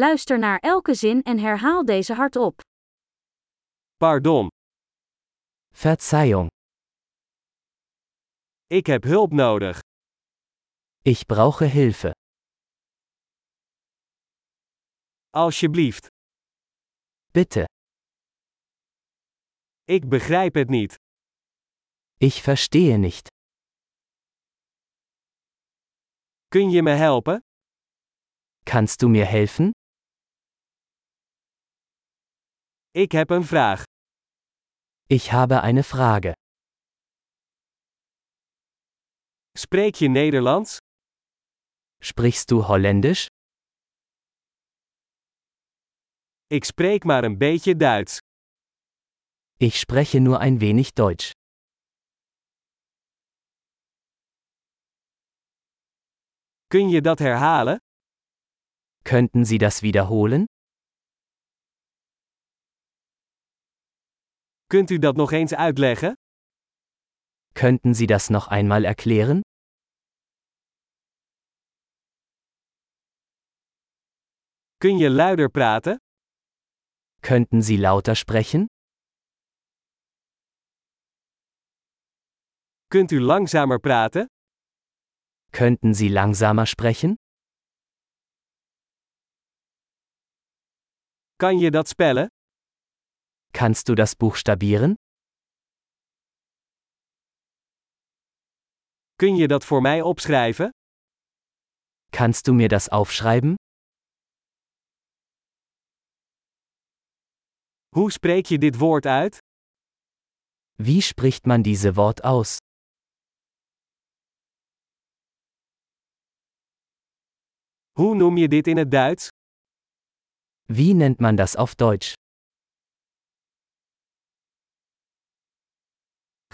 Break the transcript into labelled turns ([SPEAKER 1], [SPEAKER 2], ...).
[SPEAKER 1] Luister naar elke zin en herhaal deze hardop.
[SPEAKER 2] Pardon,
[SPEAKER 3] Verzeihung,
[SPEAKER 2] ik heb hulp nodig.
[SPEAKER 3] ich brauche Hilfe.
[SPEAKER 2] Alsjeblieft,
[SPEAKER 3] Bitte,
[SPEAKER 2] ik begrijp het niet.
[SPEAKER 3] ich verstehe nicht.
[SPEAKER 2] Kun je me helpen?
[SPEAKER 3] Kannst du mir helfen?
[SPEAKER 2] Ik heb een vraag.
[SPEAKER 3] Ich habe eine Frage.
[SPEAKER 2] Spreek je Nederlands?
[SPEAKER 3] Sprichst du Holländisch?
[SPEAKER 2] Ik spreek maar een beetje Duits.
[SPEAKER 3] Ich spreche nur ein wenig Deutsch.
[SPEAKER 2] Kun je dat herhalen?
[SPEAKER 3] Könnten Sie das wiederholen?
[SPEAKER 2] Kunt u dat nog eens uitleggen?
[SPEAKER 3] Könnten Sie das noch einmal erklären?
[SPEAKER 2] Kun je luider praten?
[SPEAKER 3] Könnten Sie lauter sprechen?
[SPEAKER 2] Kunt u langzamer praten?
[SPEAKER 3] Könnten Sie langsamer sprechen?
[SPEAKER 2] Kan je dat spellen?
[SPEAKER 3] Kannst du das buchstabieren?
[SPEAKER 2] Kun je dat voor mij opschrijven?
[SPEAKER 3] Kannst du mir das aufschreiben?
[SPEAKER 2] Hoe spreek je dit woord uit?
[SPEAKER 3] Wie spricht man diese Wort aus?
[SPEAKER 2] Hoe noem je dit in het Duits?
[SPEAKER 3] Wie nennt man das auf Deutsch?